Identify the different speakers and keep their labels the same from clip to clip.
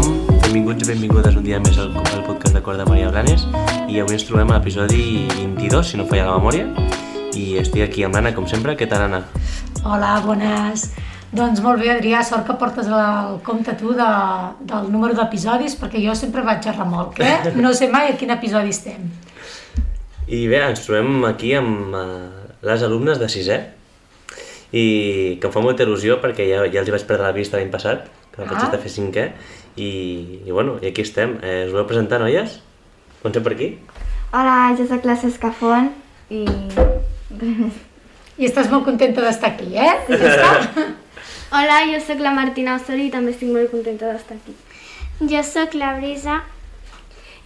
Speaker 1: benvinguts i benvingudes un dia més al, al podcast de Cor de Maria Blanes i avui ens trobem a l'episodi 22, si no falla la memòria i estic aquí amb l'Anna, com sempre. Què tal, Anna?
Speaker 2: Hola, bones. Doncs molt bé, Adrià, sort que portes el compte tu de, del número d'episodis, perquè jo sempre vaig a remolc, eh? No sé mai a quin episodi estem.
Speaker 1: I bé, ens trobem aquí amb eh, les alumnes de sisè i que em fa molta il·lusió perquè ja, ja els hi vaig perdre la vista l'any passat, que vaig
Speaker 2: Ah.
Speaker 1: estar a fer cinquè i, i bueno, i aquí estem. Eh, us voleu presentar, noies? Comencem per aquí?
Speaker 3: Hola, jo sóc la Sescafon i...
Speaker 2: I estàs molt contenta d'estar aquí, eh? Ja està?
Speaker 3: Hola, jo sóc la Martina Osorio i també estic molt contenta d'estar aquí. Jo sóc la Brisa.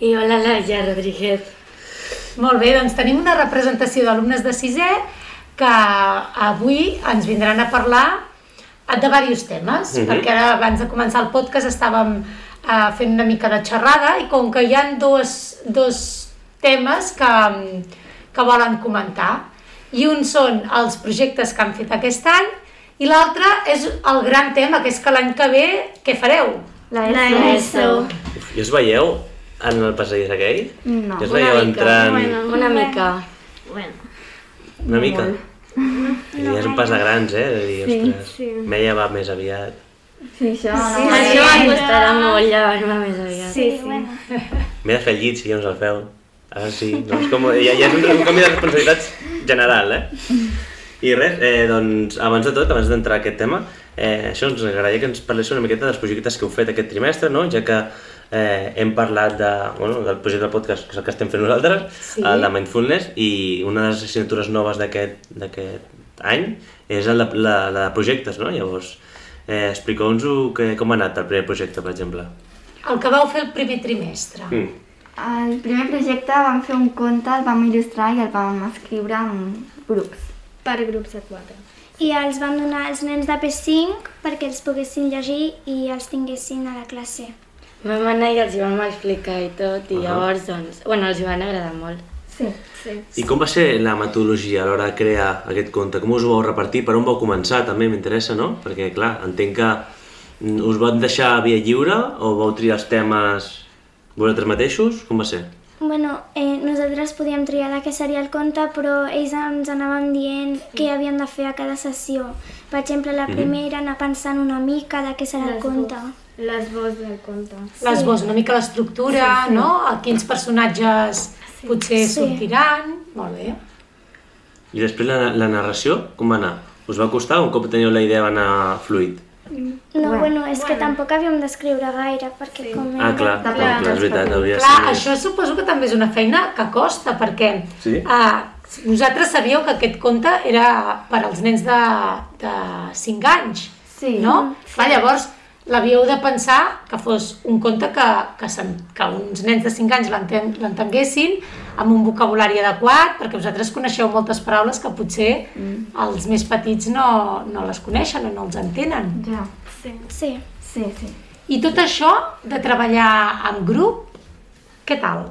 Speaker 4: I hola, Laia Rodríguez.
Speaker 2: Molt bé, doncs tenim una representació d'alumnes de sisè que avui ens vindran a parlar de diversos temes,
Speaker 1: Mhm.
Speaker 2: perquè ara abans de començar el podcast estàvem eh, fent una mica de xerrada i com que hi ha dos, dos temes que, mm, que volen comentar, i un són els projectes que han fet aquest any i l'altre és el gran tema, que és que l'any que ve què fareu?
Speaker 3: La
Speaker 4: La
Speaker 3: ESO.
Speaker 4: ESO.
Speaker 1: I us veieu en el passadís aquell?
Speaker 3: No.
Speaker 1: I us veieu entrant...
Speaker 4: Una mica. Bueno.
Speaker 1: Una mica?
Speaker 4: molt.
Speaker 1: No, ja és un pas de grans, eh? De dir,
Speaker 3: Sí,
Speaker 1: ostres,
Speaker 3: sí.
Speaker 1: Meia va més aviat.
Speaker 3: Sí, això.
Speaker 4: Sí, Això em costarà molt llevar-me més aviat.
Speaker 3: sí, sí. Bueno.
Speaker 1: M'he de fer el llit si ja us el feu. Ara Ah, sí, no? És com, ja, ja és un, un canvi de responsabilitats general, eh? I res, eh, doncs, abans de tot, abans d'entrar a aquest tema, eh, això ens agradaria que ens parléssiu una miqueta dels projectes que heu fet aquest trimestre, no? Ja que eh, hem parlat de, bueno, del projecte del podcast, que és el que estem fent nosaltres,
Speaker 2: Sí.
Speaker 1: el de Mindfulness, i una de les assignatures noves d'aquest d'aquest any és el de, la, la de projectes, no? Llavors, eh, expliqueu-nos com ha anat el primer projecte, per exemple.
Speaker 2: El que vau fer el primer trimestre.
Speaker 1: Mm.
Speaker 5: El primer projecte vam fer un conte, el vam il·lustrar i el vam escriure amb grups.
Speaker 3: Per grups de quatre.
Speaker 6: I els vam donar als nens de P5 perquè els poguessin llegir i els tinguessin a la classe.
Speaker 4: Vam anar i els hi vam explicar i tot, i llavors, doncs... Bueno, els hi van agradar molt.
Speaker 5: Sí.
Speaker 3: Sí.
Speaker 1: I com va ser la metodologia a l'hora de crear aquest conte? Com us ho vau repartir? Per on vau començar? També m'interessa, no? Perquè, clar, entenc que mm, us van deixar via lliure o vau triar els temes vosaltres mateixos? Com va ser?
Speaker 6: Bueno, eh, nosaltres podíem triar de què seria el conte, però ells ens anaven dient què havien de fer a cada sessió. Per exemple, la
Speaker 1: Mhm.
Speaker 6: primera anar pensant una mica de què serà el conte.
Speaker 3: L'esbós del conte.
Speaker 2: l'esbós, una mica l'estructura, sí, sí. no? A quins personatges sí. potser sí.
Speaker 6: Sí.
Speaker 2: sortiran. Molt bé.
Speaker 1: I després la, la narració, com va anar? Us va costar? Un cop teníeu la idea va anar fluid?
Speaker 6: No, bueno, és que tampoc havíem d'escriure gaire, perquè sí. com
Speaker 1: Ah,
Speaker 6: era-
Speaker 1: clar, clar, clar,
Speaker 5: clar,
Speaker 1: és veritat. Hauria de
Speaker 2: Clar,
Speaker 1: ser més-
Speaker 2: això suposo que també és una feina que costa, perquè
Speaker 1: Sí?
Speaker 2: uh, vosaltres sabíeu que aquest conte era per als nens de, de 5 anys,
Speaker 5: Sí.
Speaker 2: no? Clar, llavors, l'havíeu de pensar que fos un conte que, que, sen- que uns nens de 5 anys l'enten- l'entenguessin amb un vocabulari adequat, perquè vosaltres coneixeu moltes paraules que potser els més petits no, no les coneixen o no els entenen.
Speaker 5: Ja.
Speaker 6: Sí.
Speaker 5: Sí, sí.
Speaker 2: I tot això de treballar en grup, què tal?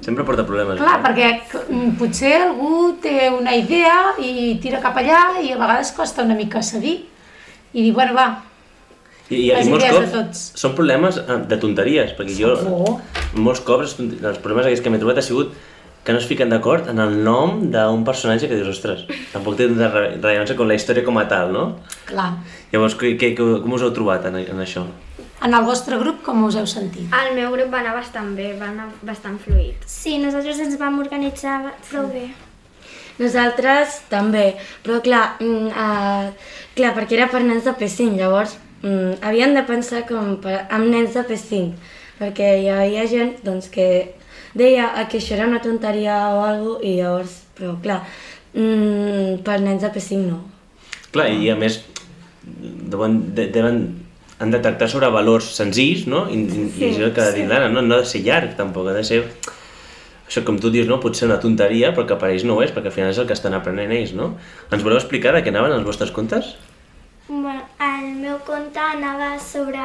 Speaker 1: Sempre porta problemes.
Speaker 2: Clar,
Speaker 1: això.
Speaker 2: perquè mm, potser algú té una idea i tira cap allà i a vegades costa una mica cedir i dir, bueno, va,
Speaker 1: I, i,
Speaker 2: les
Speaker 1: i molts
Speaker 2: idees de
Speaker 1: cops
Speaker 2: tots.
Speaker 1: són problemes eh, de tonteries, perquè jo
Speaker 2: Segur.
Speaker 1: molts cops els tonte- els problemes aquests que m'he trobat ha sigut que no es fiquen d'acord en el nom d'un personatge que dius, ostres, tampoc té tanta re- rellevància com la història com a tal, no?
Speaker 2: clar,
Speaker 1: Llavors, què, què, com us heu trobat en, en això?
Speaker 2: en el vostre grup com us heu sentit?
Speaker 7: El meu grup va anar bastant bé, va anar bastant fluid.
Speaker 6: Sí, nosaltres ens vam organitzar prou bé.
Speaker 4: Nosaltres també, però clar, mm, eh, clar perquè era per nens de P5, llavors mm, havien de pensar com per, amb nens de P5, perquè hi havia gent doncs, que deia eh, que això era una tonteria o alguna cosa, i llavors, però clar, mm, per nens de P5 no.
Speaker 1: Clar, i a més, deuen, de, deuen, han de tractar sobre valors senzills, no? I, i, i això que ha dit l'Anna, no? no ha de ser llarg, tampoc, ha de ser... Això, com tu dius, no? pot ser una tonteria, però que per ells no ho és, perquè al final és el que estan aprenent ells, no? Ens voleu explicar de què anaven els vostres contes?
Speaker 6: Bueno, el meu conte anava sobre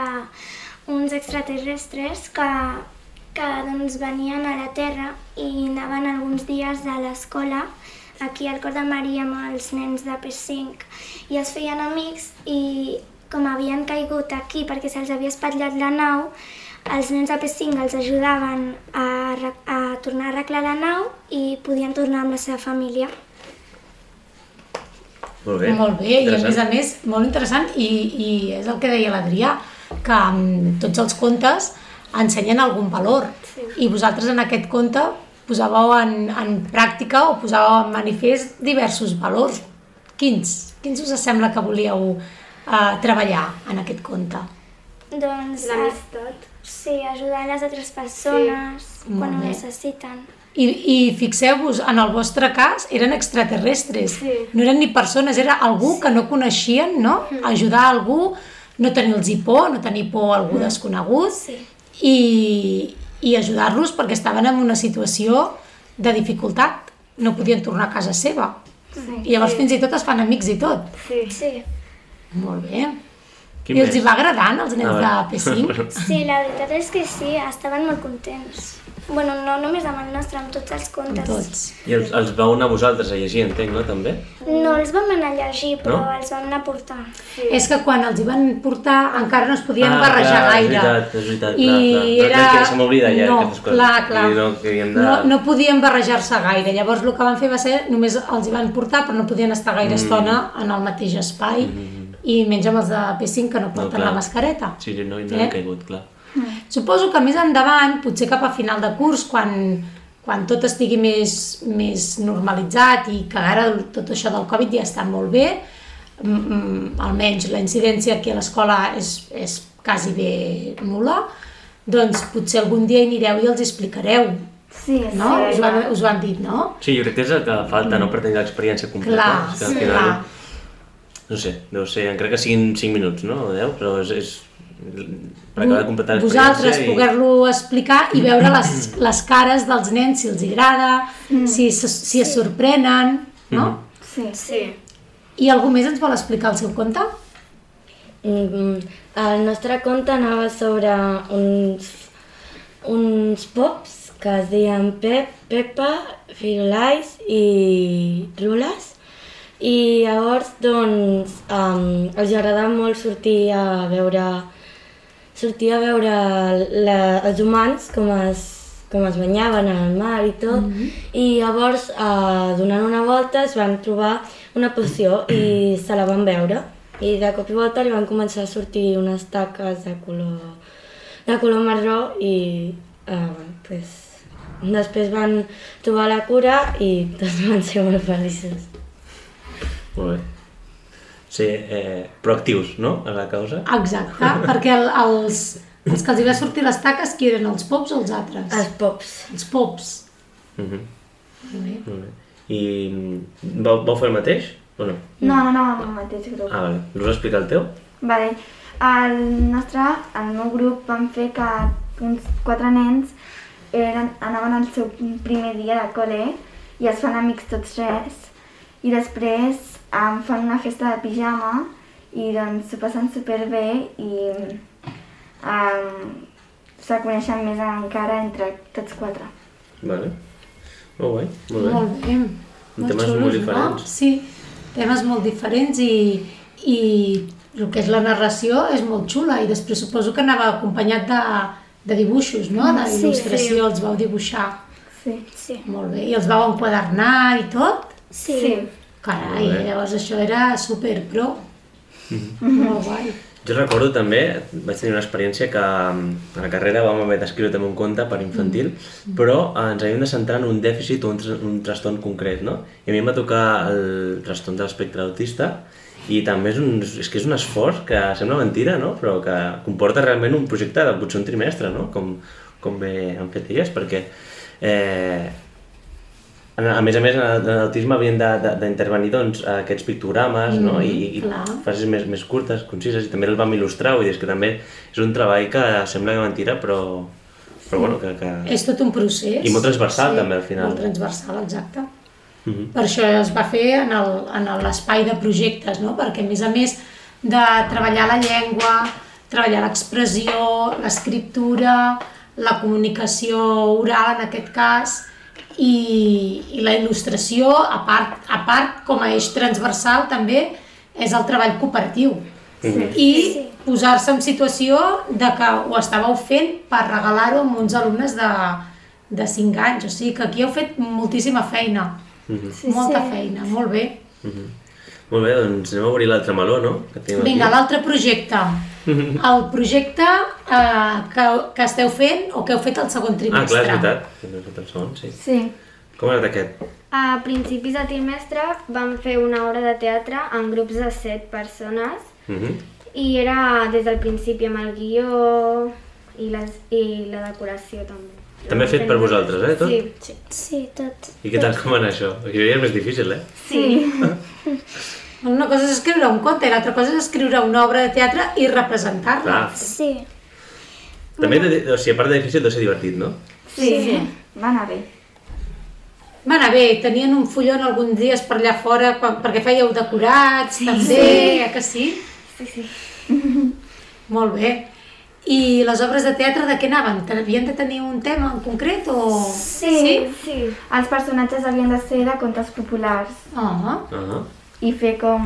Speaker 6: uns extraterrestres que, que doncs, venien a la Terra i anaven alguns dies a l'escola aquí al Cor de Maria amb els nens de P5 i es feien amics i com havien caigut aquí perquè se'ls havia espatllat la nau Els nens de P5 els ajudaven a, arre- a tornar a arreglar la nau i podien tornar amb la seva família.
Speaker 1: Molt bé.
Speaker 2: Molt bé, i a més a
Speaker 1: Interessant.
Speaker 2: més, molt interessant, i, i és el que deia l'Adrià, que mm, tots els contes ensenyen algun valor, i vosaltres en aquest conte posàveu en, en pràctica o posàveu en manifest diversos valors. Quins? Quins us sembla que volíeu eh, treballar en aquest conte?
Speaker 6: Doncs
Speaker 7: L'amistat.
Speaker 6: a- sí, ajudar les altres persones quan
Speaker 2: Molt
Speaker 6: ho
Speaker 2: bé.
Speaker 6: necessiten.
Speaker 2: I, i fixeu-vos, en el vostre cas eren extraterrestres,
Speaker 7: Sí.
Speaker 2: no eren ni persones, era algú que no coneixien, no? Ajudar algú, no tenir-los por, no tenir por a algú desconegut i, i ajudar-los perquè estaven en una situació de dificultat, no podien tornar a casa seva. I llavors fins i tot es fan amics i tot.
Speaker 7: Sí.
Speaker 6: Sí,
Speaker 2: Molt bé.
Speaker 1: Quin
Speaker 2: I els
Speaker 1: més?
Speaker 2: hi va agradant els nens de
Speaker 1: Ah,
Speaker 2: P5?
Speaker 6: sí, la veritat és que sí, estaven molt contents. bueno, no només amb el nostre, amb tots els contes.
Speaker 2: Tots.
Speaker 1: I els, els vau anar vosaltres a llegir, entenc, no? També?
Speaker 6: No els vam anar a llegir, però
Speaker 1: No?
Speaker 6: els vam anar a portar.
Speaker 2: És que quan els hi van portar encara no es podien
Speaker 1: Ah,
Speaker 2: barrejar
Speaker 1: clar, és
Speaker 2: gaire.
Speaker 1: veritat, és veritat,
Speaker 2: I
Speaker 1: clar, clar.
Speaker 2: Era...
Speaker 1: No, clar, que se m'oblida ja
Speaker 2: no,
Speaker 1: aquestes coses.
Speaker 2: Clar, clar.
Speaker 1: I no, que havíem de-
Speaker 2: no, no podien barrejar-se gaire. Llavors el que van fer va ser, només els hi van portar, però no podien estar
Speaker 1: Mm.
Speaker 2: gaire estona en el mateix espai. I menys amb els de P5 que no porten
Speaker 1: clar.
Speaker 2: la mascareta.
Speaker 1: Sí, sí, no, i no he
Speaker 2: Eh?
Speaker 1: caigut, clar.
Speaker 2: Suposo que més endavant, potser cap a final de curs, quan, quan tot estigui més, més normalitzat i que ara tot això del Covid ja està molt bé, mm, mm, almenys la incidència aquí a l'escola és, és quasi bé nula, doncs potser algun dia hi anireu i els hi explicareu,
Speaker 5: Sí, sí.
Speaker 2: no? us, ho han, us ho han dit, no?
Speaker 1: Sí, jo crec que és el que falta, no? Per tenir l'experiència completa.
Speaker 2: Clar,
Speaker 1: És que al
Speaker 2: sí,
Speaker 1: final-
Speaker 2: clar.
Speaker 1: No sé, deu ser, encara que siguin 5 minuts, no? O 10, però és... és per acabar de completar l'experiència
Speaker 2: vosaltres poder-lo explicar i veure les, les cares dels nens, si els agrada, si, se- si es sorprenen, no?
Speaker 1: Mhm.
Speaker 5: Sí.
Speaker 7: Sí.
Speaker 2: I algú més ens vol explicar el seu conte?
Speaker 4: Mm, El nostre conte anava sobre uns, uns pops que es deien Pep, Pepa, Firulais i Rules. I llavors, doncs, um, els agradava molt sortir a veure sortir a veure la, els humans com es, com es banyaven al mar i tot i llavors eh, donant una volta es van trobar una poció i se la van veure i de cop i volta li van començar a sortir unes taques de color de color marró i eh, pues, després van trobar la cura i tots van ser molt feliços
Speaker 1: Molt bé. Ser eh, proactius, no? A la causa.
Speaker 2: Exacte, perquè el, els, els que els hi va sortir les taques, qui eren, els pops o els altres?
Speaker 4: els pops
Speaker 2: Els pops.
Speaker 1: Mhm,
Speaker 2: Molt bé.
Speaker 1: Molt bé. I mm, vau, vau fer el mateix o no?
Speaker 5: No, no, no, amb el mateix grup.
Speaker 1: Ah, vale. Us vas explicar el teu?
Speaker 5: Vale. El nostre, el meu grup, van fer que uns quatre nens eren, anaven al seu primer dia de col·le i es fan amics tots tres i després em fan una festa de pijama i doncs s'ho passen superbé i um, se coneixen més encara entre tots quatre.
Speaker 1: Vale. Molt guai, molt bé.
Speaker 2: Molt bé. Molt
Speaker 1: Temes
Speaker 2: xulos,
Speaker 1: molt
Speaker 2: No?
Speaker 1: diferents.
Speaker 2: Sí, temes molt diferents i, i el que és la narració és molt xula i després suposo que anava acompanyat de, de dibuixos, no? De
Speaker 6: Sí,
Speaker 2: il·lustració, els vau dibuixar.
Speaker 5: Sí.
Speaker 6: Sí.
Speaker 2: Molt bé. I els vau enquadernar i tot?
Speaker 6: Sí.
Speaker 2: Carai,
Speaker 1: Molt bé.
Speaker 2: llavors això era super pro. Molt guai.
Speaker 1: Jo recordo també, vaig tenir una experiència que mm, a la carrera vam haver d'escriure també un conte per infantil, però eh, ens havíem de centrar en un dèficit o un, tr- un trastorn concret, no? I a mi em va tocar el trastorn de l'espectre autista i també és, un, és que és un esforç que sembla mentira, no? Però que comporta realment un projecte de potser un trimestre, no? Com, com bé han fet elles, perquè eh, a a més a més, en el- en l'autisme havien de- de- d'intervenir doncs, aquests pictogrames no? I, i
Speaker 2: clar.
Speaker 1: frases més, més curtes, concises, i també el vam il·lustrar, vull dir, és que també és un treball que sembla que mentira, però, però bueno, que... que...
Speaker 2: És tot un procés.
Speaker 1: I molt transversal, també, al final.
Speaker 2: Molt transversal, exacte.
Speaker 1: Mhm.
Speaker 2: Per això es va fer en el- en l'espai de projectes, no? Perquè, a més a més de treballar la llengua, treballar l'expressió, l'escriptura, la comunicació oral, en aquest cas, i, i la il·lustració, a part, a part, com a eix transversal, també és el treball cooperatiu. i posar-se en situació de que ho estàveu fent per regalar-ho a uns alumnes de, de 5 anys. O sigui que aquí heu fet moltíssima feina,
Speaker 6: Sí,
Speaker 2: molta
Speaker 6: sí.
Speaker 2: feina, molt bé.
Speaker 1: Molt bé, doncs anem a obrir l'altre meló, no? Que tenim aquí.
Speaker 2: Vinga, l'altre projecte.
Speaker 1: Mhm.
Speaker 2: El projecte eh, que, que esteu fent o que heu fet el segon
Speaker 1: Ah, clar,
Speaker 2: trimestre.
Speaker 1: és veritat. que no és el segon, sí.
Speaker 5: Sí.
Speaker 1: Com ha anat aquest?
Speaker 7: A principis de trimestre vam fer una obra de teatre en grups de 7 persones
Speaker 1: Mhm.
Speaker 7: i era des del principi amb el guió i, les, i la decoració també.
Speaker 1: També fet per vosaltres, eh, tot?
Speaker 7: Sí, sí.
Speaker 6: Sí, tot.
Speaker 1: I què
Speaker 2: Doncs-
Speaker 1: tal com va anar això? Perquè jo ja és més difícil, eh?
Speaker 2: Una cosa és escriure un conte i l'altra cosa és escriure una obra de teatre i representar-la.
Speaker 1: Clar.
Speaker 6: Sí,
Speaker 1: També, de, o sigui, a part de difícil, deu ser divertit, no?
Speaker 5: Sí. sí. Va anar bé.
Speaker 2: Va anar bé, tenien un fullon alguns dies per allà fora quan, perquè fèieu decorats, sí, també, sí. eh que sí? Sí, sí. Molt bé. I les obres de teatre de què anaven? Te- Havien de tenir un tema en concret o...?
Speaker 5: Sí.
Speaker 7: sí.
Speaker 5: Els personatges havien de ser de contes populars
Speaker 2: Ah,
Speaker 1: Uh -huh.
Speaker 5: i fer com...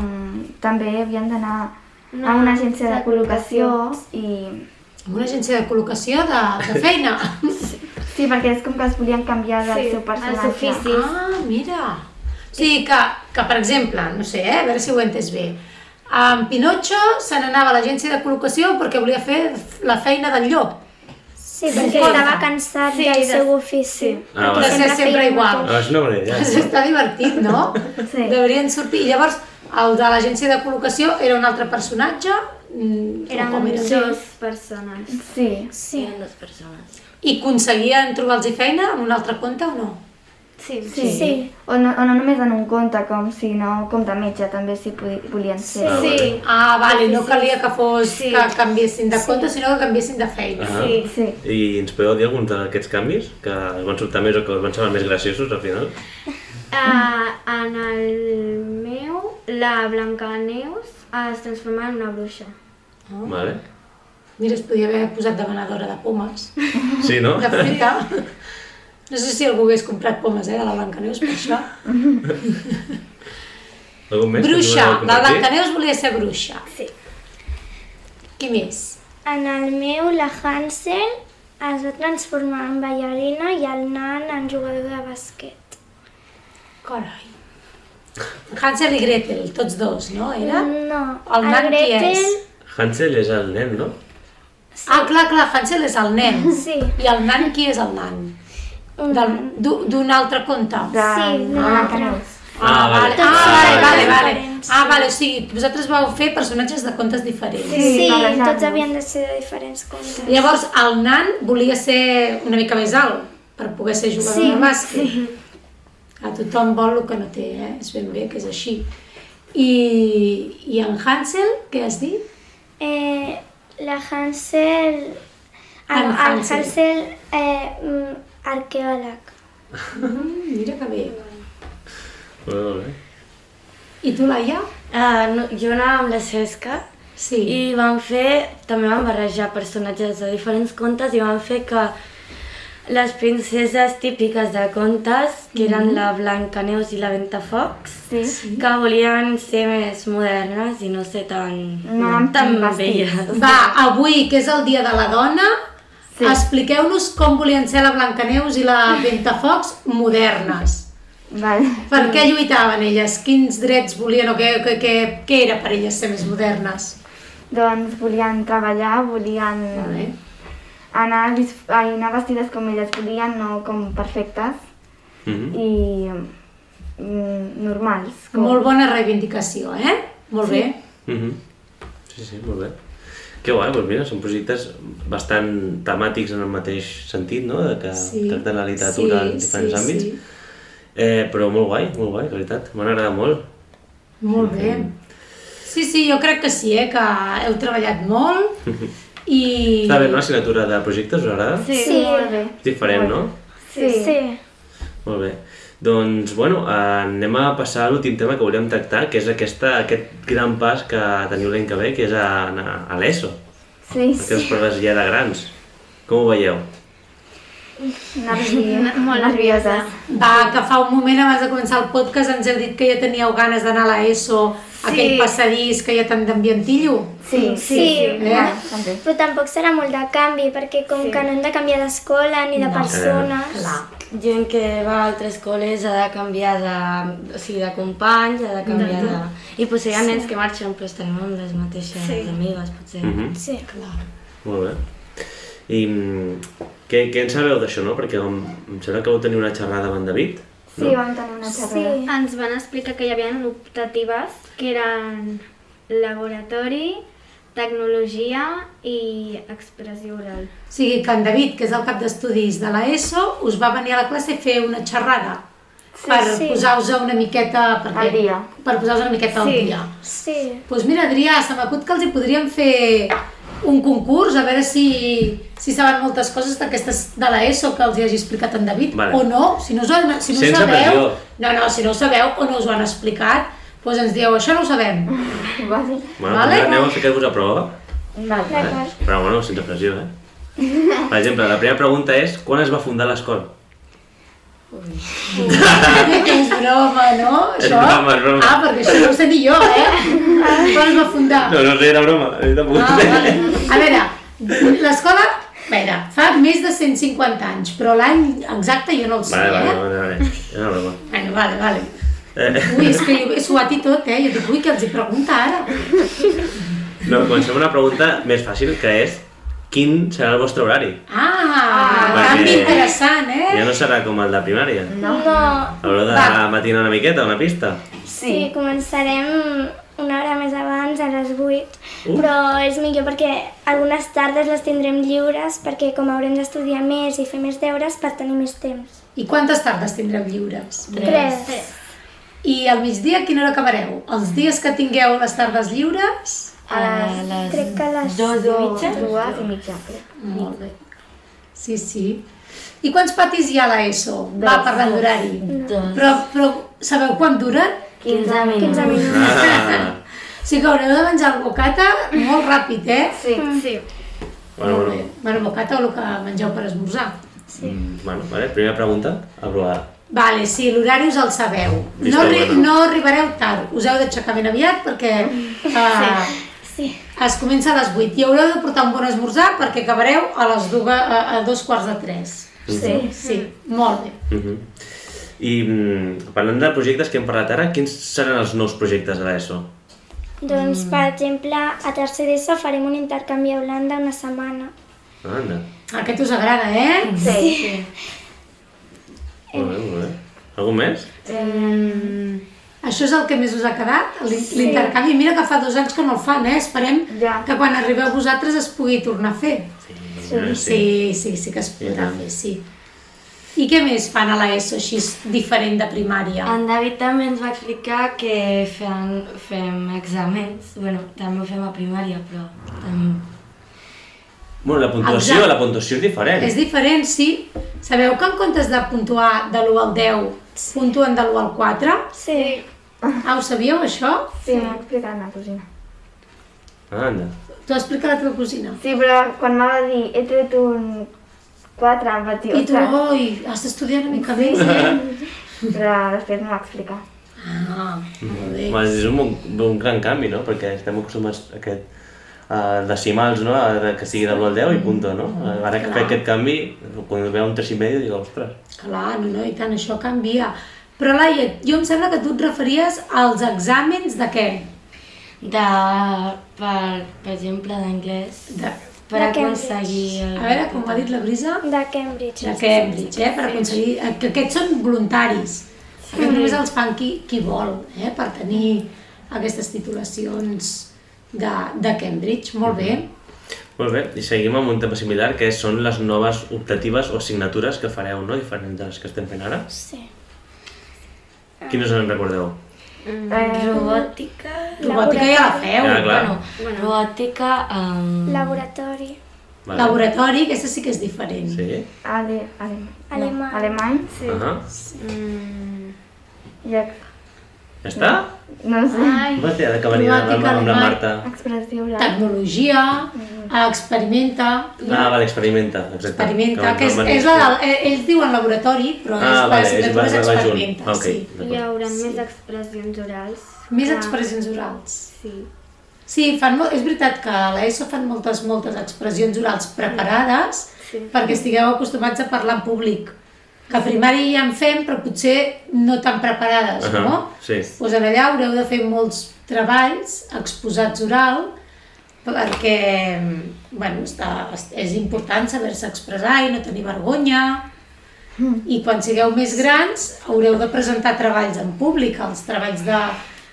Speaker 5: També havien d'anar a una agència de col·locació i...
Speaker 2: amb una agència de col·locació de, de feina.
Speaker 5: Sí, perquè és com que es volien canviar del
Speaker 7: Sí,
Speaker 5: seu personatge.
Speaker 7: els oficis.
Speaker 2: Ah, mira. O sigui que, que, per exemple, no sé, eh, a veure si ho he entès bé, en Pinocho se n'anava a l'agència de col·locació perquè volia fer la feina del llop.
Speaker 6: sí perquè
Speaker 2: conte.
Speaker 6: estava cansat
Speaker 7: Sí,
Speaker 6: del
Speaker 7: de-
Speaker 6: seu ofici.
Speaker 1: Ah,
Speaker 2: De
Speaker 1: vale.
Speaker 2: ser sempre
Speaker 6: feia el
Speaker 2: igual.
Speaker 1: Ah, és una bona idea.
Speaker 2: Això està divertit, no?
Speaker 5: Sí.
Speaker 2: Deurien sortir. I llavors, el de l'agència de col·locació era un altre personatge? Mm, o
Speaker 7: Érem
Speaker 2: com era?
Speaker 7: dues persones.
Speaker 5: Sí.
Speaker 6: Sí,
Speaker 4: Eren dues persones.
Speaker 2: I aconseguien trobar-los feina en un altre compte o no?
Speaker 7: Sí,
Speaker 5: Sí. sí. O, no, o no només en un conte, com si no, com de metge també si podi, volien ser.
Speaker 1: Ah,
Speaker 7: Sí,
Speaker 1: vale.
Speaker 2: Ah, vale, no calia que fos
Speaker 7: Sí.
Speaker 2: que canviessin de compte, sinó que canviessin de feina.
Speaker 1: Ah.
Speaker 7: sí.
Speaker 5: Sí.
Speaker 1: I ens podeu dir alguns d'aquests canvis que us van sobtar més o que us van semblar més graciosos al final?
Speaker 7: Uh, en el meu, la Blancaneus es transforma en una bruixa.
Speaker 2: Ah.
Speaker 1: Vale.
Speaker 2: Mira, es podia haver posat de venedora de pomes,
Speaker 1: Sí, no?
Speaker 2: de fruita. No sé si algú hagués comprat pomes, eh, de la Blancaneus, per això.
Speaker 1: Algun més? que ens
Speaker 2: Bruixa,
Speaker 1: voleu
Speaker 2: la
Speaker 1: compartir?
Speaker 2: Blancaneus volia ser bruixa.
Speaker 7: Sí.
Speaker 2: Qui més?
Speaker 6: En el meu, la Hansel es va transformar en ballarina i el nan en jugador de bàsquet.
Speaker 2: Carai. Hansel i Gretel, tots dos, no? Era?
Speaker 6: No,
Speaker 2: El nan qui és?
Speaker 1: Hansel és el nen, no?
Speaker 2: Ah, clar, clar, Hansel és el nen.
Speaker 6: Sí,
Speaker 2: I el nan, qui és el nan? Del- d'u- D'un altre conte.
Speaker 5: De,
Speaker 6: Sí,
Speaker 5: de
Speaker 6: no.
Speaker 5: Ah, Blancaneus.
Speaker 1: Ah, vale.
Speaker 2: Ah, vale,
Speaker 1: Ah,
Speaker 2: vale, vale.
Speaker 6: diferents.
Speaker 2: Ah, vale, o sigui, vosaltres vau fer personatges de contes diferents.
Speaker 5: Sí,
Speaker 6: sí,
Speaker 5: barrejant-los.
Speaker 6: tots havien de ser de diferents comptes.
Speaker 2: Llavors, el nan volia ser una mica més alt per poder ser jugador
Speaker 6: Sí,
Speaker 2: de bàsquet. A tothom vol el que no té, eh? És ben bé que és així. I, i en Hansel, què has dit?
Speaker 6: Eh, la Hansel... El,
Speaker 2: En
Speaker 6: el
Speaker 2: Hansel.
Speaker 6: Hansel, eh, mm, arqueòleg. Mm-hmm.
Speaker 2: Mm, mira que bé.
Speaker 1: Molt bé.
Speaker 2: I tu, Laia?
Speaker 4: Ah, no, jo anava amb la Cesca
Speaker 2: Sí.
Speaker 4: i vam fer, també vam barrejar personatges de diferents contes i vam fer que les princeses típiques de contes, que eren la Blancaneus i la Ventafocs,
Speaker 5: Sí.
Speaker 4: que volien ser més modernes i no ser tan,
Speaker 5: No,
Speaker 4: tan
Speaker 5: amb vestits.
Speaker 4: velles.
Speaker 2: Va, avui, que és el Dia de la Dona, sí. expliqueu-nos com volien ser la Blancaneus i la Ventafocs modernes.
Speaker 5: Vale.
Speaker 2: Per què lluitaven elles? Quins drets volien o què, què, què, què era per elles ser més modernes?
Speaker 5: Doncs volien treballar, volien
Speaker 2: Vale.
Speaker 5: anar, vis- ai, anar vestides com elles volien, no com perfectes
Speaker 1: Mhm.
Speaker 5: i mm, normals. Com...
Speaker 2: Molt bona reivindicació, eh? Molt sí. bé.
Speaker 1: Mhm. Sí, sí, molt bé. Que guai, doncs mira, són projectes bastant temàtics en el mateix sentit, no? De Ah, que
Speaker 2: Sí.
Speaker 1: tracten la literatura en diferents àmbits. Eh, però molt guai, molt guai, de veritat. M'han agradat molt.
Speaker 2: Molt bé. Sí, sí, jo crec que sí, eh? Que heu treballat molt i...
Speaker 1: Està bé, no? Assignatura de projectes, us agrada?
Speaker 7: Sí.
Speaker 6: Sí,
Speaker 5: Molt bé.
Speaker 1: És diferent, no?
Speaker 5: Sí.
Speaker 6: sí.
Speaker 1: Molt bé. Doncs, bueno, eh, anem a passar a l'últim tema que volíem tractar, que és aquesta, aquest gran pas que teniu l'any que ve, que és a, anar a l'ESO,
Speaker 5: Sí, sí.
Speaker 1: aquestes proves ja de grans. Com ho veieu?
Speaker 5: Nervi...
Speaker 7: Molt
Speaker 5: nervioses.
Speaker 2: Va, que fa un moment abans de començar el podcast ens heu dit que ja teníeu ganes d'anar a l'ESO aquell passadís que hi ha tant d'ambientillo.
Speaker 5: Sí,
Speaker 6: Sí, sí.
Speaker 2: Eh?
Speaker 5: també.
Speaker 6: Però tampoc serà molt de canvi, perquè com sí. que no hem de canviar d'escola ni de no. persones...
Speaker 2: Clar.
Speaker 4: Gent que va a altres col·les ha de canviar de, o sigui, de companys, ha de canviar de... I potser hi ha nens que marxen però estarem amb les mateixes amigues, potser.
Speaker 1: Mhm.
Speaker 6: Sí.
Speaker 1: Molt bé. I mm, què, què en sabeu d'això, no? Perquè em, em sembla que vau tenir una xerrada amb en David.
Speaker 5: Sí, vam tenir una
Speaker 6: Sí.
Speaker 5: xerrada.
Speaker 7: Ens van explicar que hi havia optatives que eren laboratori, tecnologia i expressió oral.
Speaker 2: O sigui que en David, que és el cap d'estudis de l'ESO, us va venir a la classe a fer una xerrada sí, per
Speaker 6: sí.
Speaker 2: posar-vos una miqueta... Per
Speaker 5: Al dia.
Speaker 2: Per posar-vos una miqueta al
Speaker 7: Sí.
Speaker 2: dia.
Speaker 6: Sí.
Speaker 2: Doncs mira, Adrià, se m'acut que els hi podríem fer un concurs, a veure si, si saben moltes coses d'aquestes de l'ESO que els hi hagi explicat en David,
Speaker 1: Vale.
Speaker 2: o no, si no, us ho- si no ho
Speaker 1: Sense
Speaker 2: sabeu,
Speaker 1: pressió.
Speaker 2: no, no, si no ho sabeu o no us ho han explicat, doncs ens dieu, això no ho sabem.
Speaker 5: Vale.
Speaker 1: Bueno,
Speaker 2: Vale.
Speaker 1: vale. aneu a ficar-vos a prova.
Speaker 5: Vale.
Speaker 1: Eh? Però bueno, sense pressió, eh? Per exemple, la primera pregunta és quan es va fundar l'escola?
Speaker 2: és broma, no?
Speaker 1: És broma, és broma.
Speaker 2: Ah, perquè això no ho sé ni jo, eh? Quan es va fundar?
Speaker 1: No, no sé, era broma. Jo tampoc ho
Speaker 2: Ah,
Speaker 1: sé.
Speaker 2: vale. A veure, l'escola, a veure, fa més de 150 anys, però l'any exacte jo no el sé,
Speaker 1: Vale, vale,
Speaker 2: eh?
Speaker 1: vale, vale. Era una broma.
Speaker 2: Bueno, vale, vale.
Speaker 1: Eh,
Speaker 2: Ui, és que jo he suat i tot, eh? Jo dic, ui, que els hi pregunta ara.
Speaker 1: no, comencem amb una pregunta més fàcil, que és quin serà el vostre horari?
Speaker 2: Ah,
Speaker 1: Perquè-
Speaker 2: canvi interessant, eh?
Speaker 1: Ja no serà com el de primària.
Speaker 6: No. no.
Speaker 1: Haureu de
Speaker 2: Va.
Speaker 1: matinar una miqueta, una pista.
Speaker 6: Sí. sí, començarem una hora més abans, a les 8,
Speaker 1: Uh.
Speaker 6: però és millor perquè algunes tardes les tindrem lliures perquè com haurem d'estudiar més i fer més deures per tenir més temps.
Speaker 2: I quantes tardes tindreu lliures?
Speaker 6: Tres. Tres.
Speaker 2: I al migdia a quina hora acabareu? Els dies que tingueu les tardes lliures?
Speaker 4: A les
Speaker 6: Crec que les...
Speaker 4: dues i mitja?
Speaker 5: Dues i mitja, crec.
Speaker 2: Molt bé. Sí, sí. I quants patis hi ha a l'ESO? Va, parlant d'horari.
Speaker 4: Dos.
Speaker 2: Però, però sabeu quant duren?
Speaker 4: 15
Speaker 6: 15
Speaker 4: minuts.
Speaker 6: minuts.
Speaker 1: Ah.
Speaker 2: O sigui que haureu de menjar el bocata molt ràpid, eh?
Speaker 5: Sí.
Speaker 4: Mm.
Speaker 7: Sí.
Speaker 1: Bueno,
Speaker 2: Molt
Speaker 1: bueno.
Speaker 2: bé. Bueno, bocata o el que mengeu per esmorzar.
Speaker 1: Mm, Bueno, vale, primera pregunta, aprovada.
Speaker 2: Vale, sí, l'horari us el sabeu. No,
Speaker 1: Vista
Speaker 2: arri
Speaker 1: buena.
Speaker 2: no arribareu tard, us heu d'aixecar ben aviat perquè eh,
Speaker 6: Sí.
Speaker 2: es comença a les 8 i haureu de portar un bon esmorzar perquè acabareu a les dues, a, a dos quarts de 3.
Speaker 5: Sí.
Speaker 2: Sí, molt bé.
Speaker 1: Mhm. I mm, parlant de projectes que hem parlat ara, quins seran els nous projectes de l'ESO?
Speaker 6: Doncs, per exemple, a tercer d'ESO farem un intercanvi a Holanda una setmana.
Speaker 1: Anda.
Speaker 2: Aquest us agrada, eh?
Speaker 5: Sí. sí.
Speaker 1: Molt bé, molt bé. Algú més?
Speaker 2: Això és el que més us ha quedat, l'in- l'intercanvi. Mira que fa dos anys que no el fan, eh? Esperem
Speaker 5: Ja.
Speaker 2: que quan arribeu vosaltres es pugui tornar a fer.
Speaker 1: Sí, sí.
Speaker 2: sí, sí, sí que es
Speaker 1: I
Speaker 2: podrà
Speaker 1: tant.
Speaker 2: fer, sí. I què més fan a l'ESO així diferent de primària?
Speaker 4: En David també ens va explicar que fem, fem exàmens, bueno, també ho fem a primària, però també...
Speaker 1: Bueno, la puntuació,
Speaker 2: Exacte.
Speaker 1: la puntuació és diferent.
Speaker 2: És diferent, sí. Sabeu que en comptes de puntuar de l'1 al 10, puntuen de l'1 al 4?
Speaker 6: Sí.
Speaker 2: Ah, ho sabíeu, això?
Speaker 5: Sí, m'ho ha explicat ma cosina.
Speaker 1: Anda.
Speaker 2: T'ho explica la teva cosina.
Speaker 5: Sí, però quan me va dir he tret un 4, em vaig dir,
Speaker 2: I tu,
Speaker 5: ostres,
Speaker 2: oi, has d'estudiar una mica més, eh?
Speaker 5: però després m'ho va explicar.
Speaker 2: Ah, molt bé.
Speaker 1: Bueno, és un, bon, un gran canvi, no? Perquè estem acostumats a aquest a decimals, no? A que sigui de l'1 al 10 i punto, no? Ara que fa aquest canvi, quan veu un 3 i medio, dic, ostres.
Speaker 2: Clar, no, no, i tant, això canvia. Però, Laia, jo em sembla que tu et referies als exàmens de què?
Speaker 4: De, per, per exemple, d'anglès,
Speaker 2: De,
Speaker 4: per
Speaker 6: De Cambridge.
Speaker 4: aconseguir... El...
Speaker 2: a veure, com ha dit la Brisa,
Speaker 6: De Cambridge.
Speaker 2: de Cambridge, eh? Per aconseguir... eh, Que aquests són voluntaris. Aquests només els fan qui, qui vol, eh? Per tenir aquestes titulacions de, de Cambridge. Molt bé.
Speaker 1: Molt bé, i seguim amb un tema similar, que són les noves optatives o assignatures que fareu, no? Diferents de les que estem fent ara.
Speaker 6: Sí.
Speaker 1: Quines en recordeu?
Speaker 7: Mm,
Speaker 5: Eh,
Speaker 4: Robòtica...
Speaker 2: Robòtica ja la feu.
Speaker 1: Ja, Ah, clar.
Speaker 4: Bueno, robòtica... Um...
Speaker 6: Laboratori.
Speaker 1: Vale.
Speaker 2: Laboratori, aquesta sí que és diferent.
Speaker 1: Sí?
Speaker 5: Ale, alemany.
Speaker 6: Alemany.
Speaker 5: Alemany
Speaker 1: Sí. Uh -huh.
Speaker 5: i ex-
Speaker 1: Ja està?
Speaker 5: No ho sé.
Speaker 7: Ah.
Speaker 2: Eh,
Speaker 1: Hòstia, acabaria amb, amb, amb la Marta.
Speaker 5: Expressió oral.
Speaker 2: Tecnologia, eh, experimenta... i-
Speaker 1: Ah, vale, experimenta, exacte.
Speaker 2: Experimenta, que és,
Speaker 1: em
Speaker 2: és la del, eh, ells diuen laboratori, però
Speaker 1: Ah,
Speaker 2: és
Speaker 1: vale, és
Speaker 2: l'assignatura
Speaker 1: va-
Speaker 2: és
Speaker 1: va- va junt.
Speaker 2: experimenta,
Speaker 1: Ok,
Speaker 2: sí.
Speaker 7: Hi
Speaker 1: d'acord.
Speaker 7: haurà més expressions orals.
Speaker 2: Més
Speaker 5: Ah.
Speaker 7: que-
Speaker 2: expressions orals.
Speaker 7: Sí.
Speaker 2: Sí, fan molt, és veritat que a l'ESO fan moltes, moltes expressions orals preparades
Speaker 7: Sí.
Speaker 2: perquè estigueu acostumats a parlar en públic. Que a primària ja en fem, però potser no tan preparades,
Speaker 1: Ahà,
Speaker 2: no?
Speaker 1: sí.
Speaker 2: Doncs en allà haureu de fer molts treballs exposats oral perquè bueno, està, és important saber-se expressar i no tenir vergonya. I quan sigueu més grans haureu de presentar treballs en públic, els treballs de,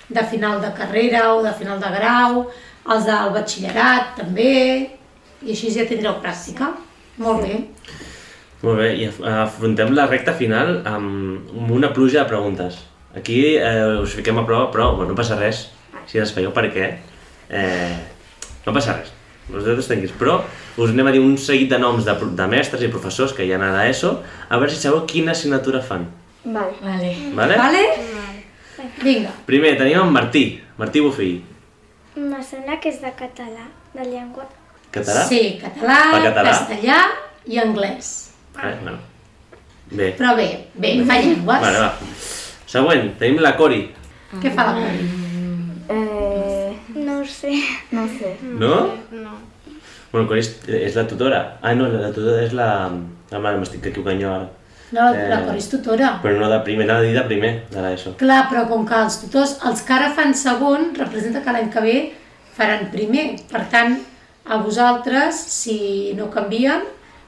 Speaker 2: de final de carrera o de final de grau, els del batxillerat també, i així ja tindreu pràctica. Molt bé.
Speaker 1: Molt bé, i af- afrontem la recta final amb amb una pluja de preguntes. Aquí eh, us fiquem a prova, però bueno, no passa res si les feieu perquè eh, no passa res. Vosaltres tanquis, però us anem a dir un seguit de noms de, pro- de mestres i professors que hi ha a l'ESO, a veure si sabeu quina assignatura fan.
Speaker 5: Vale.
Speaker 4: Vale.
Speaker 1: Vale?
Speaker 2: Vale? Vinga.
Speaker 1: Primer tenim en Martí, Martí Bofill.
Speaker 6: Me sembla que és de català, de llengua.
Speaker 1: Català?
Speaker 2: Sí, català,
Speaker 1: Per català.
Speaker 2: castellà i anglès.
Speaker 1: Vale, bueno. Ah, Bé,
Speaker 2: Però bé, bé, fa llengües.
Speaker 1: vale, va. Següent, tenim la Cori,
Speaker 2: Què fa la Cori?
Speaker 5: Eh,
Speaker 6: No ho sé.
Speaker 5: no ho sé.
Speaker 2: Mm,
Speaker 1: no?
Speaker 7: No.
Speaker 1: Bueno, Cori és, és la tutora. Ah, no, la tutora és la... La mare, m'estic equivocant jo ara.
Speaker 2: No, la,
Speaker 1: Eh.
Speaker 2: la Cori és tutora.
Speaker 1: Però no de primer, anava a dir de primer, de l'ESO.
Speaker 2: Clar, però com que els tutors, els que ara fan segon, representa que l'any que ve faran primer. Per tant, a vosaltres, si no canvien,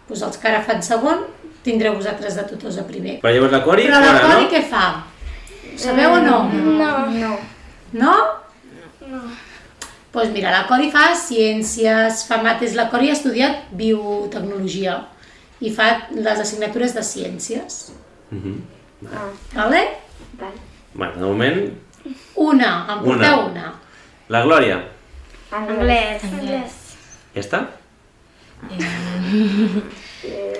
Speaker 2: doncs els que ara fan segon, tindreu vosaltres de tutors a primer.
Speaker 1: Però llavors la Cori,
Speaker 2: Però la
Speaker 1: fora,
Speaker 2: Cori
Speaker 1: no?
Speaker 2: què fa? Ho sabeu o no?
Speaker 6: No.
Speaker 5: Mm, No.
Speaker 2: No? Doncs mira, la Cori fa ciències, fa mates. La Cori ha estudiat biotecnologia i fa les assignatures de ciències.
Speaker 1: Mhm.
Speaker 5: Ah,
Speaker 2: Vale?
Speaker 5: vale.
Speaker 1: Bueno, de moment,
Speaker 2: Una, em porteu una. una.
Speaker 1: la Glòria.
Speaker 5: Anglès.
Speaker 7: Anglès.
Speaker 1: Ja està?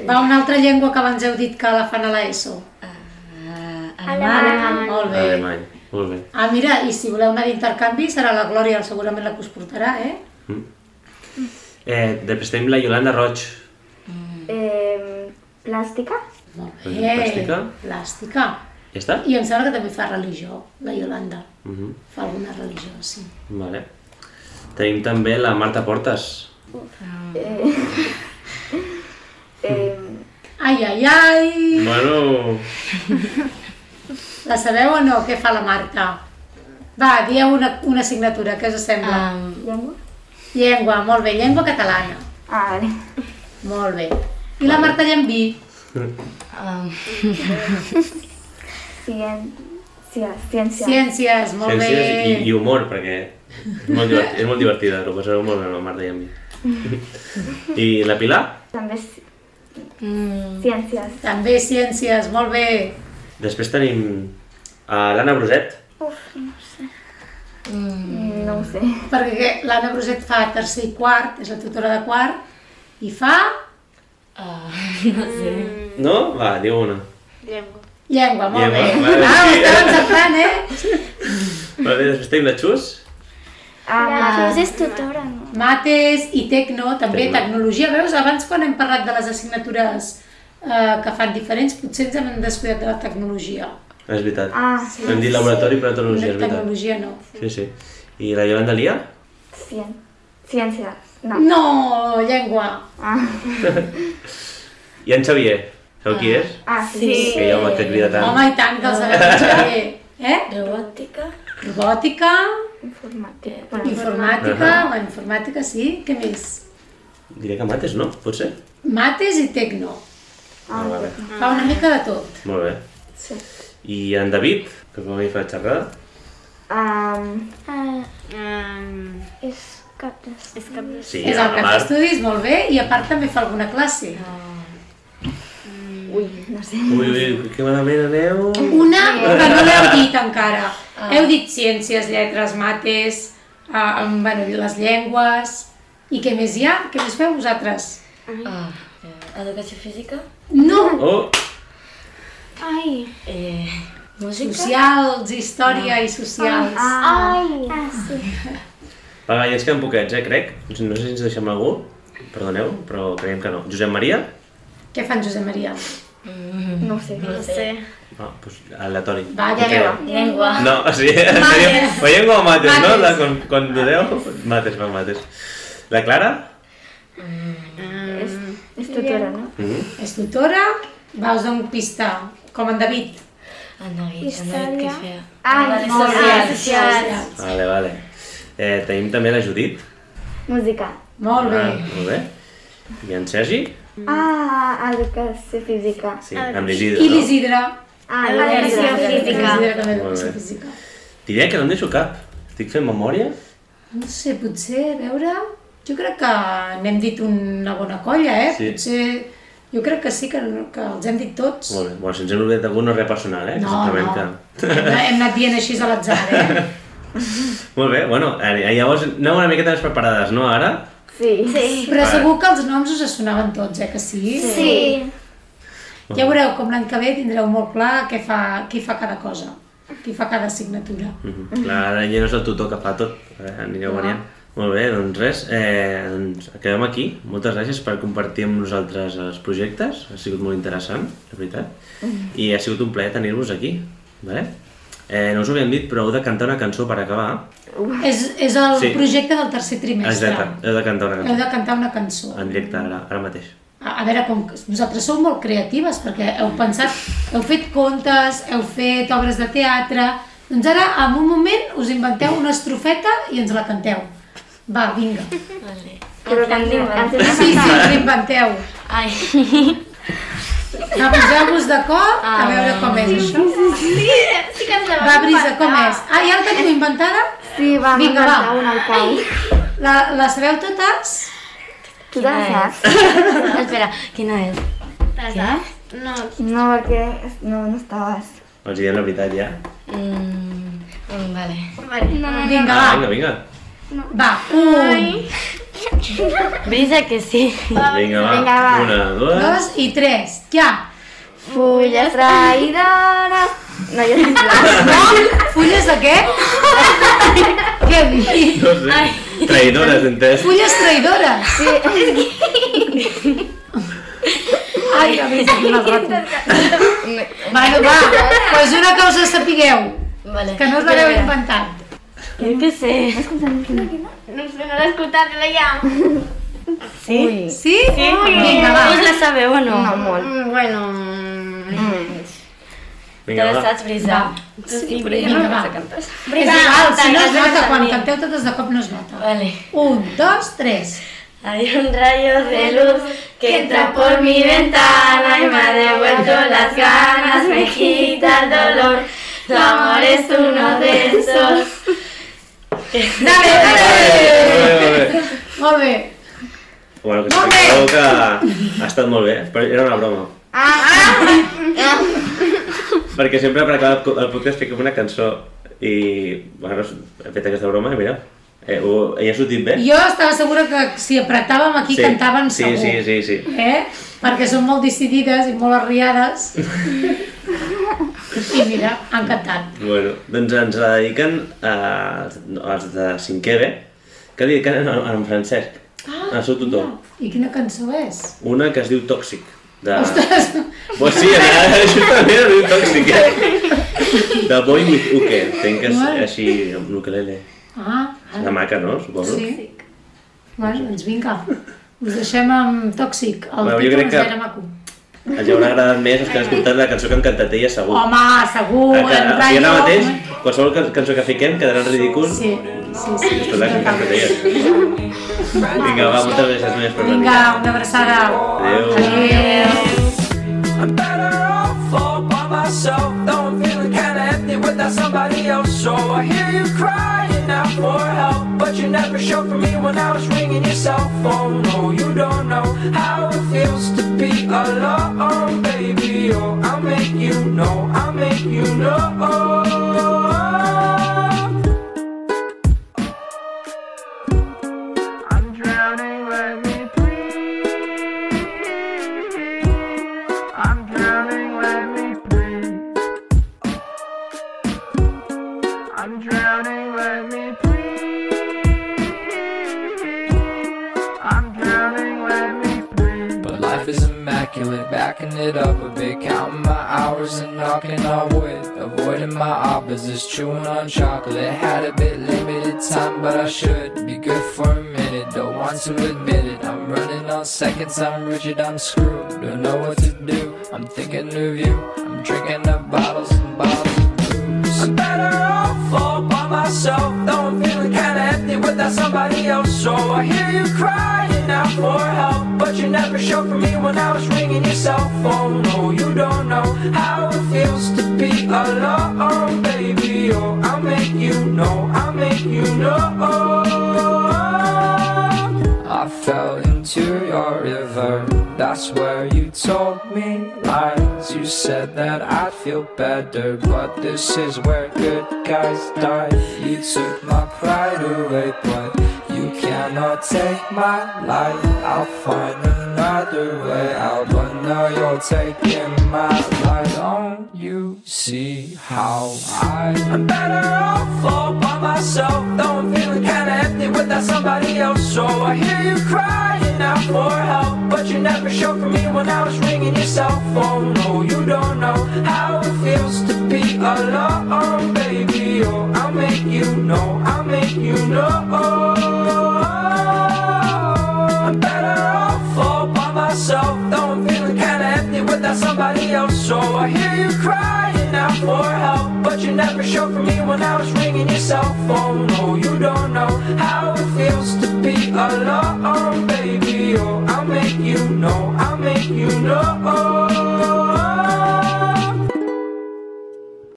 Speaker 2: Va, una altra llengua que abans heu dit que la fan a l'ESO.
Speaker 4: Uh,
Speaker 6: Alemany.
Speaker 2: Molt bé.
Speaker 1: Alemany. Molt bé.
Speaker 2: Ah, mira, i si voleu anar d'intercanvi serà la Glòria segurament la que us portarà, eh?
Speaker 1: Mhm. Eh, després tenim la Yolanda Roig.
Speaker 5: Eh, plàstica.
Speaker 2: Molt
Speaker 1: Doncs
Speaker 2: bé.
Speaker 1: plàstica.
Speaker 2: Plàstica.
Speaker 1: Ja està?
Speaker 2: I em sembla que també fa religió, la Yolanda.
Speaker 1: Mhm.
Speaker 2: Fa alguna religió, sí.
Speaker 1: Vale. Tenim també la Marta Portes.
Speaker 5: Eh,
Speaker 2: Ai, ai, ai!
Speaker 1: Bueno...
Speaker 2: La sabeu o no? Què fa la Marta? Va, dieu una, una assignatura, què us sembla?
Speaker 4: Um,
Speaker 5: llengua.
Speaker 2: Ah. Llengua, molt bé, llengua catalana.
Speaker 5: Ah, vale.
Speaker 2: Molt bé. I la Marta Llambi?
Speaker 4: um,
Speaker 5: Cien... Cia, ciència.
Speaker 2: Ciències, molt
Speaker 1: Ciències
Speaker 2: bé.
Speaker 1: i, i humor, perquè és molt, divertida, és molt divertida, ho passareu molt bé amb la Marta i amb mi. I la Pilar?
Speaker 5: També ci-
Speaker 4: mm,
Speaker 5: ciències.
Speaker 2: També ciències, molt bé.
Speaker 1: Després tenim a l'Anna Broset.
Speaker 5: No ho sé.
Speaker 2: Perquè l'Anna Broset fa tercer i quart, és la tutora de quart, i fa
Speaker 4: uh, no sé.
Speaker 1: No? Va, diu una.
Speaker 7: Llengua.
Speaker 2: llengua, molt
Speaker 1: Llengua,
Speaker 2: bé.
Speaker 1: vale,
Speaker 2: Ah,
Speaker 1: sí.
Speaker 2: ho esteu encertant, eh?
Speaker 1: Vale, després tenim la Xus.
Speaker 5: Ah,
Speaker 6: La Cruz és tutora, no?
Speaker 2: Mates i tecno, també
Speaker 1: Tecno.
Speaker 2: tecnologia. Veus, abans quan hem parlat de les assignatures eh, que fan diferents, potser ens hem descuidat de la tecnologia.
Speaker 1: És veritat.
Speaker 5: ah
Speaker 1: Hem dit laboratori per a tecnologia,
Speaker 2: La
Speaker 1: és veritat.
Speaker 2: tecnologia no.
Speaker 1: Sí, sí. I la Yolanda Lia?
Speaker 5: cien... ciència. No.
Speaker 2: No, llengua.
Speaker 5: Ah,
Speaker 1: I en Xavier. Sabeu qui és?
Speaker 5: ah sí. sí.
Speaker 1: Que hi ha home que crida tant.
Speaker 2: Home, i tant, que el sabem Xavier. Eh?
Speaker 4: Robòtica.
Speaker 2: Robòtica,
Speaker 5: Informàtic. Bueno,
Speaker 2: informàtica,
Speaker 1: Ahà.
Speaker 2: la informàtica sí, què més?
Speaker 1: Diré que mates, no? Potser?
Speaker 2: Mates i tecno.
Speaker 1: Ah, vale.
Speaker 2: Fa una mica de tot.
Speaker 1: Molt bé.
Speaker 5: sí.
Speaker 1: I en David, que com a mi fa xerrada.
Speaker 5: Um,
Speaker 6: Ah,
Speaker 7: Um,
Speaker 6: és cap de...
Speaker 7: és que
Speaker 1: Sí,
Speaker 2: és
Speaker 1: a
Speaker 2: el
Speaker 1: la
Speaker 2: cap
Speaker 1: Mar.
Speaker 2: d'estudis, molt bé, i a part també fa alguna classe.
Speaker 5: ui, no sé.
Speaker 1: Ui, ui, que malament aneu.
Speaker 2: Una que no l'heu dit encara. Heu dit ciències, lletres, mates, eh, em- bueno, les llengües... I què més hi ha? Què més feu vosaltres?
Speaker 4: Uh, educació física.
Speaker 2: No!
Speaker 1: Oh,
Speaker 7: Ai,
Speaker 4: Eh,
Speaker 2: Socials, història i socials.
Speaker 5: Ai!
Speaker 6: Ah, sí.
Speaker 1: Va, va, ja ens queden poquets, eh, crec. No sé si ens deixem algú. Perdoneu, però creiem que no. Josep Maria?
Speaker 2: Què fan Josep Maria?
Speaker 5: No ho sé.
Speaker 7: No sé.
Speaker 1: Ah, doncs aleatori.
Speaker 2: Va, ja
Speaker 1: Què?
Speaker 2: veu.
Speaker 4: Llengua.
Speaker 1: No, eh, o sigui, seria, o llengua o mates, no? La, quan, quan dudeu, mates, va, mates. La Clara?
Speaker 5: És tutora, no?
Speaker 1: Mm -hmm.
Speaker 2: És tutora, va, us dono pista, com en David.
Speaker 4: En David, en David, què feia?
Speaker 5: Ai, molt bé.
Speaker 2: Socials.
Speaker 1: Vale, vale. Eh, tenim també la Judit.
Speaker 5: Música.
Speaker 2: Molt bé.
Speaker 1: Ah, molt bé. I en Sergi?
Speaker 5: Ah, educació física.
Speaker 1: Sí, amb l'Isidre,
Speaker 2: Ah, I
Speaker 1: no?
Speaker 2: l'Isidre.
Speaker 5: Ah,
Speaker 7: Educació física.
Speaker 2: L'Isidre també
Speaker 1: Molt
Speaker 2: és
Speaker 1: bé.
Speaker 2: física.
Speaker 1: Diria que no en deixo cap. Estic fent memòria?
Speaker 2: No sé, potser, a veure... Jo crec que n'hem dit una bona colla, eh?
Speaker 1: Sí.
Speaker 2: Potser... Jo crec que sí, que, que els hem dit tots.
Speaker 1: Molt bé. Bueno, si ens hem oblidat algú no és res personal, eh?
Speaker 2: No,
Speaker 1: Simplement
Speaker 2: no.
Speaker 1: Que...
Speaker 2: Hem, hem anat dient així a l'atzar, eh?
Speaker 1: Molt bé, bueno, eh, llavors aneu una miqueta més preparades, no, ara?
Speaker 5: Sí.
Speaker 2: Però segur que els noms us sonaven tots, eh, que sí?
Speaker 6: Sí.
Speaker 2: Ja veureu com l'any que ve tindreu molt clar què fa, qui fa cada cosa, qui fa cada assignatura.
Speaker 1: Mhm. Clar, ara ja no és el tutor que fa tot, eh, anireu variant. Molt bé, doncs res, eh, doncs acabem aquí. Moltes gràcies per compartir amb nosaltres els projectes, ha sigut molt interessant, la veritat, i ha sigut un plaer tenir-vos aquí, vale? Eh, no us ho havíem dit, però heu de cantar una cançó per acabar.
Speaker 2: És, és el
Speaker 1: Sí.
Speaker 2: projecte del tercer trimestre.
Speaker 1: Exacte, heu de cantar una
Speaker 2: Heu
Speaker 1: cançó,
Speaker 2: de cantar una cançó.
Speaker 1: en directe, ara, ara mateix.
Speaker 2: A, a veure, com que vosaltres sou molt creatives perquè heu pensat, heu fet contes, heu fet obres de teatre, doncs ara en un moment us inventeu una estrofeta i ens la canteu. Va, vinga.
Speaker 5: Però també ens hem
Speaker 2: Sí, sí, us l'inventeu.
Speaker 4: Ai,
Speaker 2: A poseu-vos d'acord, a veure com és això.
Speaker 7: Ah. Sí que ens la
Speaker 2: Va, Brisa, com és? Ah, ja la teniu inventada?
Speaker 5: Sí, va,
Speaker 2: Vinga,
Speaker 5: Vinga,
Speaker 2: va.
Speaker 5: va. una al pau.
Speaker 2: La, la sabeu totes?
Speaker 5: Tu te la
Speaker 4: Quina és?
Speaker 5: saps?
Speaker 4: espera, quina és?
Speaker 7: No,
Speaker 5: No, perquè no, no estaves.
Speaker 1: Els diem la veritat ja.
Speaker 4: Mm, mm, vale.
Speaker 2: Vinga,
Speaker 1: Ah, vinga,
Speaker 2: va.
Speaker 1: vinga.
Speaker 2: Va, un,
Speaker 4: Brisa que sí.
Speaker 1: Vinga, va.
Speaker 5: Vinga, va.
Speaker 1: Una, dues...
Speaker 2: dos i tres. Ja.
Speaker 5: Fulles traïdores. No, ja estic
Speaker 2: Fulles de què? Què hem dit?
Speaker 1: No sé. Traïdores, entès?
Speaker 2: Fulles traïdores. Sí. Ai, a més, aquí me'l rato. Bueno, va, doncs una cosa sapigueu,
Speaker 4: Vale.
Speaker 2: que no us l'haveu inventat.
Speaker 4: Jo què sé.
Speaker 7: no sé, no l'he escoltat, Laia.
Speaker 4: Sí?
Speaker 2: Sí? sí. Vinga, va.
Speaker 4: Vos la sabeu o no? No,
Speaker 5: molt.
Speaker 7: Mm, Bueno...
Speaker 4: Te
Speaker 1: Vinga,
Speaker 4: la
Speaker 1: va.
Speaker 4: saps, Brisa?
Speaker 7: Sí, però
Speaker 2: Vinga, va. És
Speaker 7: Brisa,
Speaker 2: igual, si no
Speaker 7: canta,
Speaker 2: es nota,
Speaker 7: canta
Speaker 2: quan
Speaker 7: també.
Speaker 2: canteu totes de cop no es nota.
Speaker 4: Vale.
Speaker 2: Un, dos, tres.
Speaker 4: Hay un rayo de luz que entra por mi ventana y me ha devuelto las ganas, me quita el dolor. Tu amor es uno de esos.
Speaker 2: Dale, dale!
Speaker 1: Molt bé, molt bé. Bueno,
Speaker 2: Molt bé.
Speaker 1: que sapigueu que ha estat molt bé, però era una broma. Ah! Perquè sempre per acabar el co- el podcast fiquem una cançó i, bueno, he fet aquesta broma i mira, eh, ho, ja ha sortit bé.
Speaker 2: Jo estava segura que si apretàvem aquí
Speaker 1: Sí.
Speaker 2: cantaven
Speaker 1: Sí,
Speaker 2: segur.
Speaker 1: sí, sí, sí.
Speaker 2: Eh? Perquè són molt decidides i molt arriades. I mira, han cantat.
Speaker 1: Bueno, doncs ens la dediquen a, als de cinquè B, que li dediquen en, en Francesc, ah, al seu tutor.
Speaker 2: I quina cançó és?
Speaker 1: Una que es diu Tòxic. De...
Speaker 2: Ostres,
Speaker 1: Pues sí, ara, això també era un tòxic, eh? De boi mit uke, tenc que és
Speaker 2: Bueno.
Speaker 1: així amb l'ukelele.
Speaker 2: Ah,
Speaker 1: És una maca, no? Suposo.
Speaker 2: sí. Bueno, doncs vinga. Us deixem amb Tòxic. El
Speaker 1: Bueno, jo
Speaker 2: títol
Speaker 1: crec
Speaker 2: és
Speaker 1: que-
Speaker 2: gaire maco.
Speaker 1: Els haurà agradat més els que han escoltat la cançó que han cantat ella, segur.
Speaker 2: Home, segur,
Speaker 1: Ah, que,
Speaker 2: en
Speaker 1: o sigui, ara
Speaker 2: Rayo,
Speaker 1: mateix,
Speaker 2: home.
Speaker 1: qualsevol can- cançó que fiquem quedarà en ridícul.
Speaker 2: Sí, sí, sí.
Speaker 1: i Escoltar que han cantat ella. Vinga, va, moltes gràcies més per venir.
Speaker 2: Vinga, una abraçada.
Speaker 1: Adéu.
Speaker 2: Adéu.
Speaker 8: I'm better off all by myself. Though I'm feeling kinda empty without somebody else. So I hear you crying out for help. But you never showed for me when I was ringing your cell phone. No, you don't know how it feels to be alone, baby. Oh, I'll make you know, I'll make you know. I'm drowning, let me please. I'm drowning, let me please. He was backing it up a bit, counting my hours and knocking on wood. Avoiding my opposites, chewing on chocolate. Had a bit limited time, but I should be good for a minute. Don't want to admit it. I'm running on seconds, I'm rigid, I'm screwed. Don't know what to do. I'm thinking of you. I'm drinking up bottles and bottles of booze. I'm better off all by myself, though I'm feeling kinda empty without somebody else. So I hear you crying out for help, but you never showed for me when I was ringing your cell phone. No, you don't know how it feels to be alone, baby. Oh, I'll make you know, I'll make you know. I fell into your river. That's where you told me lies. You said that I'd feel better, but this is where good guys die. You took my pride away, but you cannot take my life. I'll find another way out, but now you're taking my life. Don't you see how I? I'm better off all by myself, though I'm feeling kinda empty without somebody else. So I hear you crying out for help, but you never showed for me when I was ringing your cell phone. No, you don't know how it feels to be alone, baby. Oh, I'll make you know, I'll make you know. I'm better off all by myself. Though I'm feeling kinda empty without somebody else. So I hear you crying out for help. But you never showed for me when I was ringing your cell Oh, Oh,